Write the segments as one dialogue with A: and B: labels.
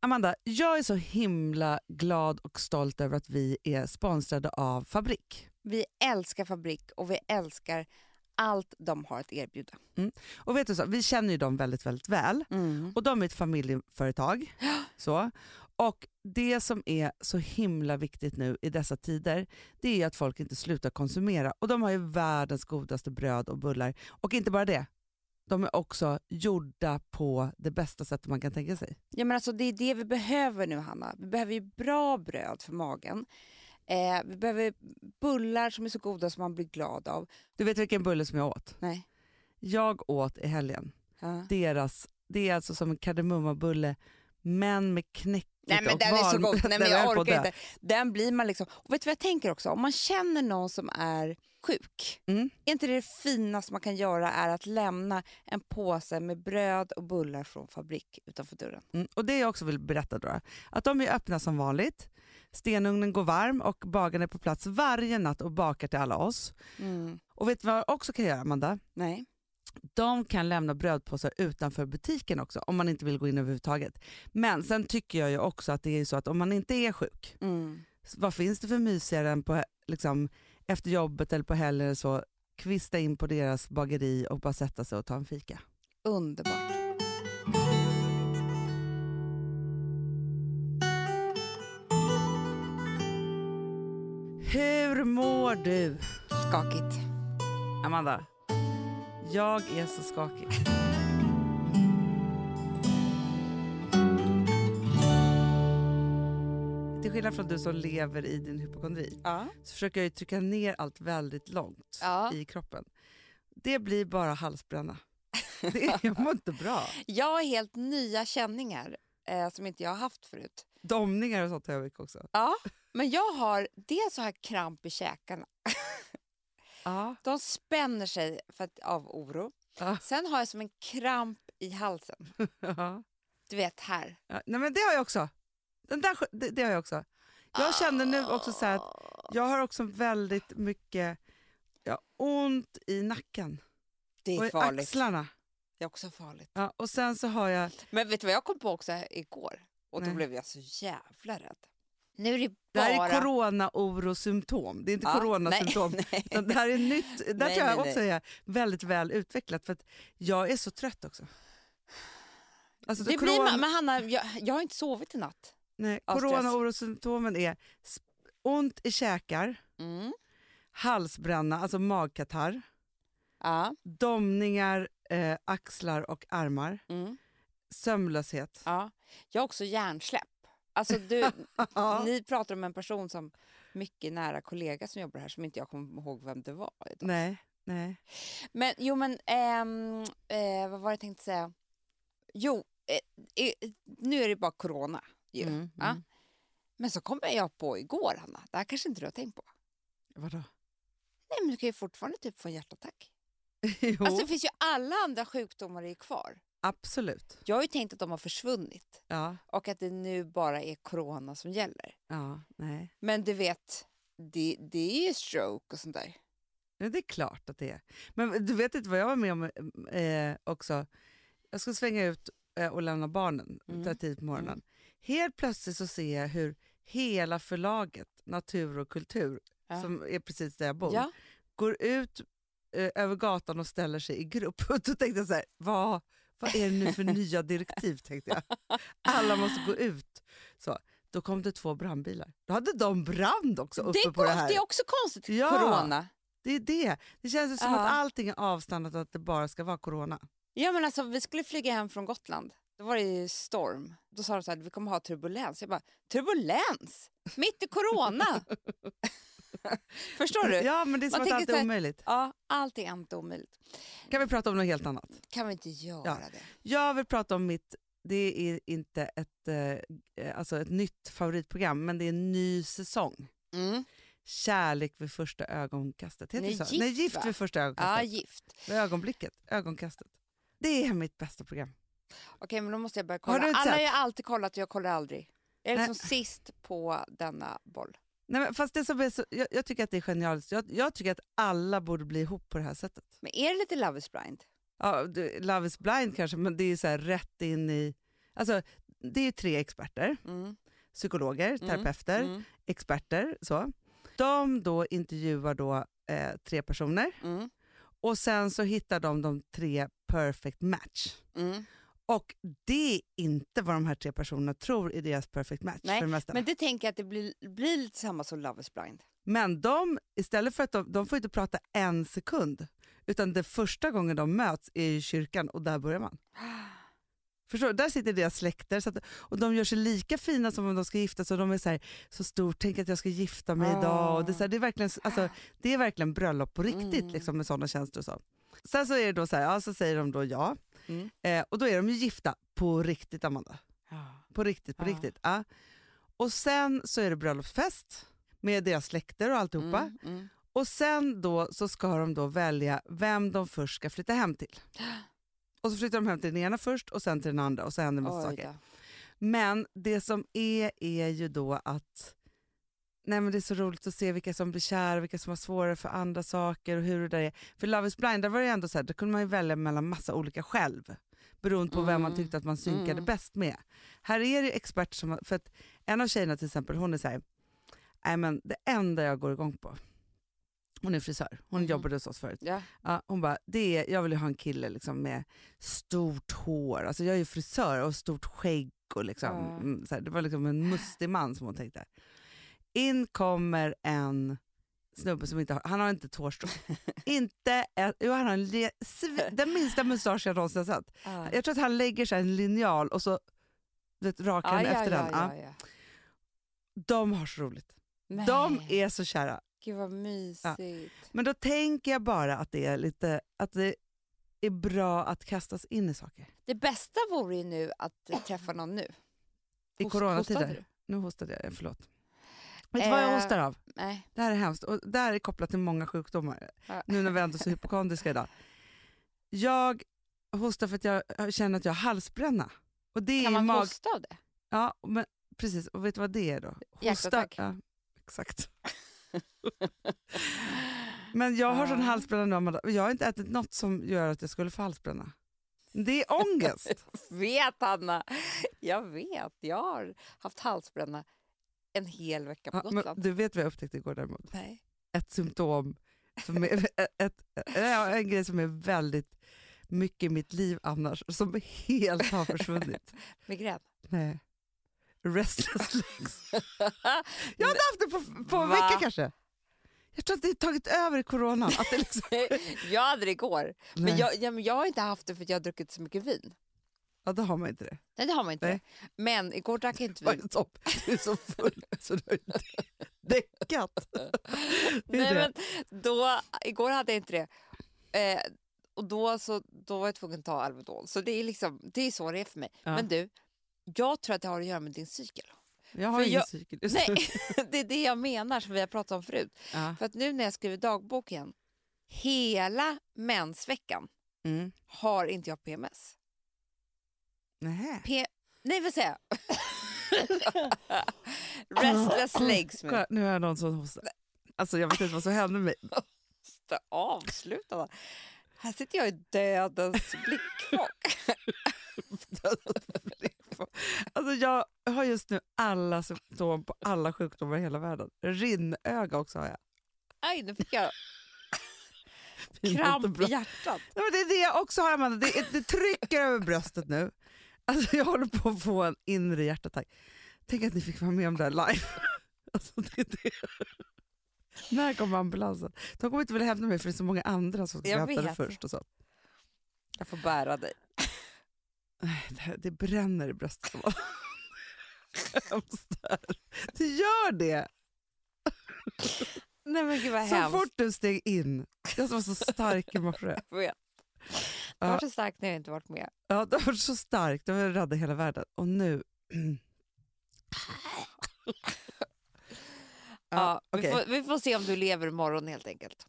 A: Amanda, jag är så himla glad och stolt över att vi är sponsrade av Fabrik.
B: Vi älskar Fabrik och vi älskar allt de har att erbjuda.
A: Och vet du så, vi känner ju dem väldigt, väldigt väl.
B: Mm.
A: Och de är ett familjeföretag. så. Och det som är så himla viktigt nu i dessa tider, det är ju att folk inte slutar konsumera. Och de har ju världens godaste bröd och bullar. Och inte bara det, de är också gjorda på det bästa sättet man kan tänka sig.
B: Ja, men alltså, det är det vi behöver nu, Hanna. Vi behöver ju bra bröd för magen. Eh, vi behöver bullar som är så goda som man blir glad av.
A: Du vet vilken bulle som jag åt?
B: Nej.
A: Jag åt i helgen
B: Ja.
A: deras, det är alltså som en kardemummabulle, men med knäckigt
B: Nej men
A: och
B: den är så
A: valnöt.
B: god, nej men
A: Den är
B: jag
A: på
B: orkar
A: att dö.
B: inte. Den blir man liksom, och vet du vad jag tänker också? Om man känner någon som är sjuk,
A: Mm.
B: är inte det finaste man kan göra är att lämna en påse med bröd och bullar från fabrik utanför dörren?
A: Mm. Och det jag också vill berätta då, att de är öppna som vanligt. Stenugnen går varm och bagaren är på plats varje natt och bakar till alla oss. Och vet du vad jag också kan göra Amanda?
B: Nej.
A: De kan lämna brödpåsar utanför butiken också om man inte vill gå in överhuvudtaget. Men sen tycker jag ju också att det är ju så att om man inte är sjuk, vad finns det för mysigare än på, liksom, efter jobbet eller på helgen eller så, kvista in på deras bageri och bara sätta sig och ta en fika.
B: Underbart.
A: Hur mår du?
B: Skakigt.
A: Amanda, jag är så skakig. Till skillnad från du som lever i din hypokondri
B: Ja.
A: så försöker jag ju trycka ner allt väldigt långt
B: Ja.
A: i kroppen. Det blir bara halsbränna. Det, jag mår inte bra.
B: Jag har helt nya känningar eh, som inte jag har haft förut.
A: Domningar och sånt har jag mycket också.
B: Ja. Men jag har, dels har jag kramp i käkarna.
A: Ja.
B: De spänner sig för att, av oro.
A: Ja.
B: Sen har jag som en kramp i halsen.
A: Ja.
B: Du vet här.
A: Ja, nej men det har jag också. Den där, sk- det, det har jag också. Jag känner nu också så här att
B: Ah.
A: jag har också väldigt mycket ja, ont i nacken
B: Det
A: och
B: är
A: i
B: farligt.
A: axlarna.
B: Det är också farligt.
A: Ja, och sen så har jag,
B: Men vet du vad jag kom på också igår? Och då
A: Nej.
B: blev jag så jävla rädd. Nu är det bara...
A: det här är corona-oro-symptom. Det är inte
B: Ja,
A: coronasymptom.
B: Nej, nej.
A: Utan det här är nytt. Där
B: Nej,
A: tror jag
B: nej,
A: också är väldigt väl utvecklat för att jag är så trött också. Alltså,
B: Det blir man, men Hanna, jag, jag har inte sovit i natt.
A: nej,
B: av stress.
A: corona-orosymptomen är sp- ont i käkar,
B: Mm.
A: halsbränna, alltså magkatarr.
B: Ja.
A: domningar, eh, axlar och armar,
B: Mm.
A: sömnlöshet.
B: ja. Jag har också hjärnsläpp. Alltså du,
A: Ja.
B: ni pratar om en person som mycket nära kollega som jobbar här som inte jag kommer ihåg vem det var. Idag.
A: Nej, nej.
B: Men jo men, ehm, eh, vad var det jag tänkte säga? Jo, eh, eh, nu är det bara corona ju.
A: Mm,
B: ja. Men så kom jag på igår Hanna, det här kanske inte du har tänkt på.
A: Vadå?
B: Nej men du kan ju fortfarande typ få en hjärtattack.
A: Jo,
B: Alltså det finns ju alla andra sjukdomar är ju kvar.
A: absolut.
B: Jag har ju tänkt att de har försvunnit
A: Ja,
B: och att det nu bara är corona som gäller.
A: ja, nej.
B: Men du vet, det, det är ju stroke och sånt där.
A: Ja, Det är klart att det är. Men du vet inte vad jag var med om eh, också. Jag ska svänga ut eh, och lämna barnen
B: Mm.
A: där tidigt på morgonen. Helt plötsligt så ser jag hur hela förlaget Natur och kultur,
B: Ja.
A: som är precis där jag bor,
B: Ja.
A: går ut eh, över gatan och ställer sig i grupp. Och då tänkte jag så här, vad, vad är det nu för nya direktiv? tänkte jag. Alla måste gå ut. Så, då kom det två brandbilar. Då hade de brand också uppe
B: Det, är
A: på det
B: konst,
A: här.
B: det är också konstigt,
A: Ja.
B: corona.
A: Det är det. Det känns ju som
B: Ja.
A: att allting är avstannat och att det bara ska vara corona.
B: Ja men alltså vi skulle flyga hem från Gotland. Då var det ju storm. Då sa de så här, vi kommer ha turbulens. Jag bara, turbulens? Mitt i corona? Förstår du? Ja.
A: Ja, men det är som
B: Man
A: att
B: tänker
A: allt
B: så
A: är
B: här-
A: omöjligt.
B: allt är inte omöjligt.
A: Kan vi prata om något helt annat?
B: Kan vi inte göra
A: Ja.
B: det?
A: Jag vill prata om mitt, det är inte ett, eh, alltså ett nytt favoritprogram, men det är en ny säsong.
B: Mm.
A: Kärlek vid första ögonkastet. Heter
B: Nej,
A: det så?
B: gift,
A: Nej, gift
B: va?
A: vid första
B: Ja,
A: ögonkastet.
B: gift.
A: Vid ögonblicket, ögonkastet. Det är mitt bästa program.
B: Okej, men då måste jag börja
A: Har
B: kolla.
A: du inte
B: Alla har
A: sett?
B: ju alltid kollat och jag kollar aldrig. Jag är
A: Nej.
B: liksom sist på denna boll.
A: Nej, men fast det som är så, jag, jag tycker att det är genialiskt. Jag, jag tycker att alla borde bli ihop på det här sättet.
B: Men är det lite Love is blind?
A: ja, du- Love is blind kanske, men det är så här rätt in i... Alltså, det är tre experter,
B: Mm.
A: psykologer, terapeuter,
B: Mm.
A: experter. Så. De då intervjuar då, eh, tre personer
B: Mm.
A: och sen så hittar de de tre perfect match.
B: Mm.
A: Och det är inte vad de här tre personerna tror är deras perfect match
B: Nej,
A: för det mesta.
B: Men
A: Men,
B: det tänker jag att det blir, blir lite samma som Love is blind.
A: de, istället för att de, de får inte prata en sekund, utan det första gången de möts är i kyrkan och där börjar man. Förstår du? Där sitter deras släkter så att, och de gör sig lika fina som om de ska gifta sig. och De är så, här, så stor, tänk att jag ska gifta mig
B: Ah.
A: idag. Och det, är så här, det, är verkligen, alltså, det är verkligen bröllop på riktigt
B: Mm.
A: liksom, med sådana tjänster och så. Sen så, är det då så, här, ja, så säger de då ja.
B: Mm.
A: Eh, och då är de ju gifta på riktigt Amanda. På riktigt, på
B: Ja.
A: riktigt. Ja. Och sen så är det bröllopsfest med deras släkter och alltihopa.
B: Mm, mm.
A: Och sen då så ska de då välja vem de först ska flytta hem till. Och så flyttar de hem till den ena först och sen till den andra och så händer en massa
B: Oj
A: saker.
B: då.
A: Men det som är, är ju då att nej men det är så roligt att se vilka som blir kära, vilka som har svårare för andra saker och hur det där är. För Love is blind, där var det ju ändå så här, där kunde man ju välja mellan massa olika själv. Beroende på vem man
B: Mm.
A: tyckte att man synkade
B: Mm.
A: bäst med. Här är det ju experter som, har- för att en av tjejerna till exempel, hon är så här, nej men det enda jag går igång på, hon är frisör, hon
B: Mhm.
A: jobbade hos oss förut.
B: Ja.
A: Ja, hon bara, det är, jag vill ju ha en kille liksom med stort hår. Alltså jag är ju frisör och stort skägg. Och liksom,
B: Ja.
A: mm, så här, det var liksom en mustig man som hon tänkte. In kommer en snubbe som inte har, han har inte ett hårstrå. inte ett, jo, han har en le, svi- den minsta mustasch jag någonsin har sett.
B: Ah.
A: Jag tror att han lägger sig en linjal och så du vet, rakar
B: Ah,
A: han
B: ja,
A: efter
B: ja,
A: den. Ja.
B: ja, ja.
A: De har så roligt.
B: Men,
A: De är så kära.
B: Gud vad mysigt.
A: Men då tänker jag bara att det är lite, att det är bra att kastas in i saker.
B: Det bästa vore ju nu att träffa någon nu.
A: I
B: Host-
A: coronatider.
B: hostade du?
A: Nu hostade jag, förlåt. Vet du vad jag
B: Eh.
A: hostar av?
B: Nej.
A: Det här är hemskt och det här är kopplat till många sjukdomar.
B: Ja.
A: Nu när vi ändå är så hypokondriska idag. Jag hostar för att jag känner att jag har halsbränna. Och det är
B: Kan
A: ju
B: man
A: mag...
B: hosta av det?
A: Ja, men precis. Och vet du vad det är då?
B: Hjärtattack.
A: Ja, exakt. Men jag har sån
B: Ja.
A: halsbränna nu, Amanda. Jag har inte ätit något som gör att jag skulle få halsbränna. Det är ångest.
B: vet Anna, jag vet. Jag har haft halsbränna en hel vecka på
A: Ja, men
B: Gotland.
A: du vet vad jag upptäckte igår däremot?
B: Nej.
A: ett symptom, som är, ett, ja, en grej som är väldigt mycket i mitt liv annars, som helt har försvunnit.
B: Migrän.
A: Nej. Restless legs. Jag har inte haft det på, på en
B: Va?
A: vecka kanske. Jag tror att det har tagit över i coronan. Att det liksom,
B: jag hade det igår. Men
A: Nej.
B: jag, ja, men jag har inte haft det för att jag har druckit så mycket vin.
A: Ja, då har man inte det.
B: Nej, det har man inte.
A: Nej.
B: Men igår drack jag inte
A: Var
B: vin.
A: det topp? Du är så full så du har inte däckat. Det är det.
B: Nej, men då, igår hade jag inte det. Eh, och då, så, då var jag tvungen att ta Alvedon. Så det är, liksom, det är så det är för mig.
A: Ja.
B: Men du, jag tror att det har att göra med din cykel.
A: Jag har
B: för
A: ingen
B: jag-
A: cykel just
B: Nej,
A: nu.
B: det är det jag menar som vi har pratat om förut.
A: Ja.
B: För att nu när jag skriver dagbok igen, hela mensveckan
A: Mm.
B: har inte jag PMS.
A: Nähä.
B: P- Nej, vad säger jag? Restless legs. men-
A: Kolla, nu har jag någon som hostar. Alltså, jag vet inte vad som hände med mig.
B: måste avsluta. då. Här sitter jag i dödens blickfång.
A: Alltså jag har just nu alla symptom på alla sjukdomar i hela världen. Rinnöga också har jag.
B: Aj, nu fick jag
A: Pinsamt och
B: kramp
A: bra.
B: i hjärtat.
A: Nej, men det är det jag också har Amanda. Det, är- det trycker över bröstet nu. Alltså jag håller på att få en inre hjärtattack. Tänk att ni fick vara med om det här live. Alltså det är det. När kommer ambulansen? De kommer inte vilja hämta mig för det är så många andra som ska
B: Jag
A: hämta det
B: vet.
A: först. Och så.
B: Jag får bära dig.
A: Nej, Det, här, det bränner i bröstet. Amanda. Hemskt det här. Det gör det!
B: Nej men gud vad
A: Så
B: hemskt.
A: fort du steg in, jag som var så stark i morse.
B: Jag vet. Det
A: Ja.
B: var så starkt när jag inte varit med.
A: Ja, det var så stark, det var rädda hela världen. Och nu...
B: Ja,
A: okej.
B: vi, får, vi får se om du lever imorgon helt enkelt.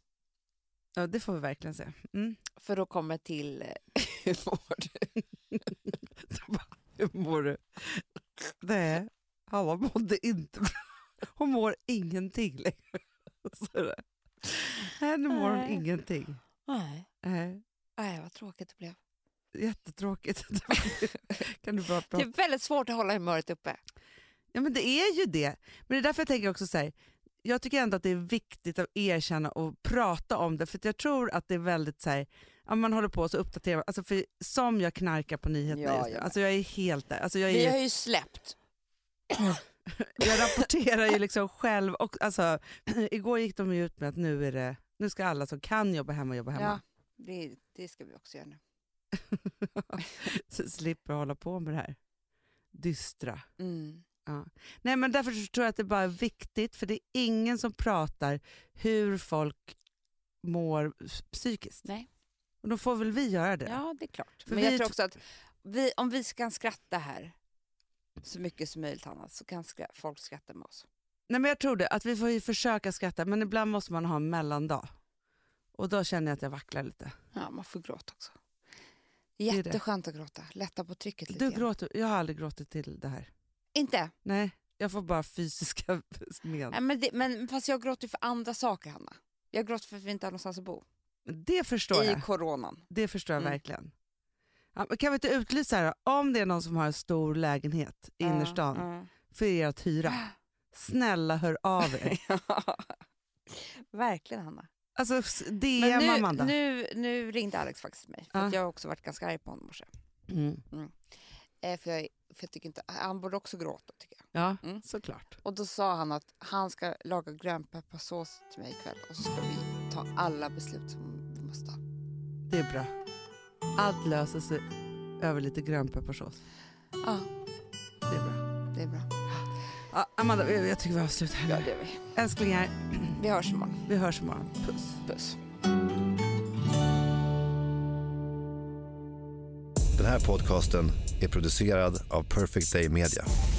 A: ja, det får vi verkligen se. Mm.
B: För då kommer till eh, hur mår du?
A: Hur mår du? Nej, Hanna mådde inte bra. Hon mår ingenting längre. Så är det. Nej, nu mår hon
B: Nej.
A: ingenting.
B: Nej.
A: Nej.
B: Nej, vad tråkigt det blev.
A: jättetråkigt. kan du bara
B: Det
A: prata?
B: är väldigt svårt att hålla humöret uppe.
A: Ja, men det är ju det. Men det är därför jag tänker också så här, jag tycker ändå att det är viktigt att erkänna och prata om det, för att jag tror att det är väldigt så här, ja, man håller på och så uppdaterar man. alltså för som jag knarkar på nyheterna
B: Ja,
A: just nu.
B: jag med.
A: Alltså jag är helt där. Alltså jag,
B: Vi har
A: är,
B: ju släppt.
A: jag rapporterar ju liksom själv och alltså, igår gick de ju ut med att nu är det, nu ska alla som kan jobba hemma jobba hemma.
B: Ja, det, det ska vi också göra nu.
A: Så slipper hålla på med det här dystra.
B: Mm.
A: Nej men därför så tror jag att det bara är viktigt för det är ingen som pratar hur folk mår psykiskt.
B: Nej.
A: Och då får väl vi göra det.
B: Ja, det är klart.
A: För
B: Men jag
A: vi
B: tror
A: tr-
B: också att vi, om vi kan skratta här så mycket som möjligt, Hanna, så kan skra- folk skratta med oss.
A: Nej men jag tror det, att vi får ju försöka skratta men ibland måste man ha en mellandag. Och då känner jag att jag vacklar lite.
B: Ja, man får gråta också.
A: är det.
B: Jätteskönt att gråta. Lätta på trycket lite
A: Du
B: grann.
A: gråter, jag har aldrig gråtit till det här.
B: Inte?
A: Nej, jag får bara fysiska men.
B: Nej, men, det, men fast jag gråter ju för andra saker, Hanna. Jag gråter för att vi inte har någonstans att bo.
A: Men Det förstår jag.
B: I coronan.
A: Det förstår jag
B: Mm.
A: verkligen. Ja, men Kan vi inte utlysa här då? om det är någon som har en stor lägenhet i innerstan
B: Ja,
A: för er att hyra. Snälla hör av er.
B: ja. Verkligen, Hanna.
A: Alltså s- DM
B: Men nu,
A: Amanda.
B: nu, nu ringde Alex faktiskt mig, för att
A: Ja.
B: jag har också varit ganska arg på honom i morse.
A: Mm.
B: Eh, för, jag, för jag tycker inte, han borde också gråta, tycker jag.
A: Ja,
B: Mm.
A: såklart.
B: Och då sa han att han ska laga grönpepparsås till mig ikväll och så ska vi ta alla beslut som vi måste ta.
A: Det är bra. Allt löser sig över lite grönpepparsås.
B: Ja,
A: Det är bra.
B: det är bra.
A: Ja, Amanda, jag, jag tycker vi avslutar här
B: Ja,
A: nu.
B: det gör vi.
A: Älsklingar,
B: Vi hörs imorgon.
A: vi hörs imorgon. Puss.
B: Puss.
C: Den här podcasten är producerad av Perfect Day Media.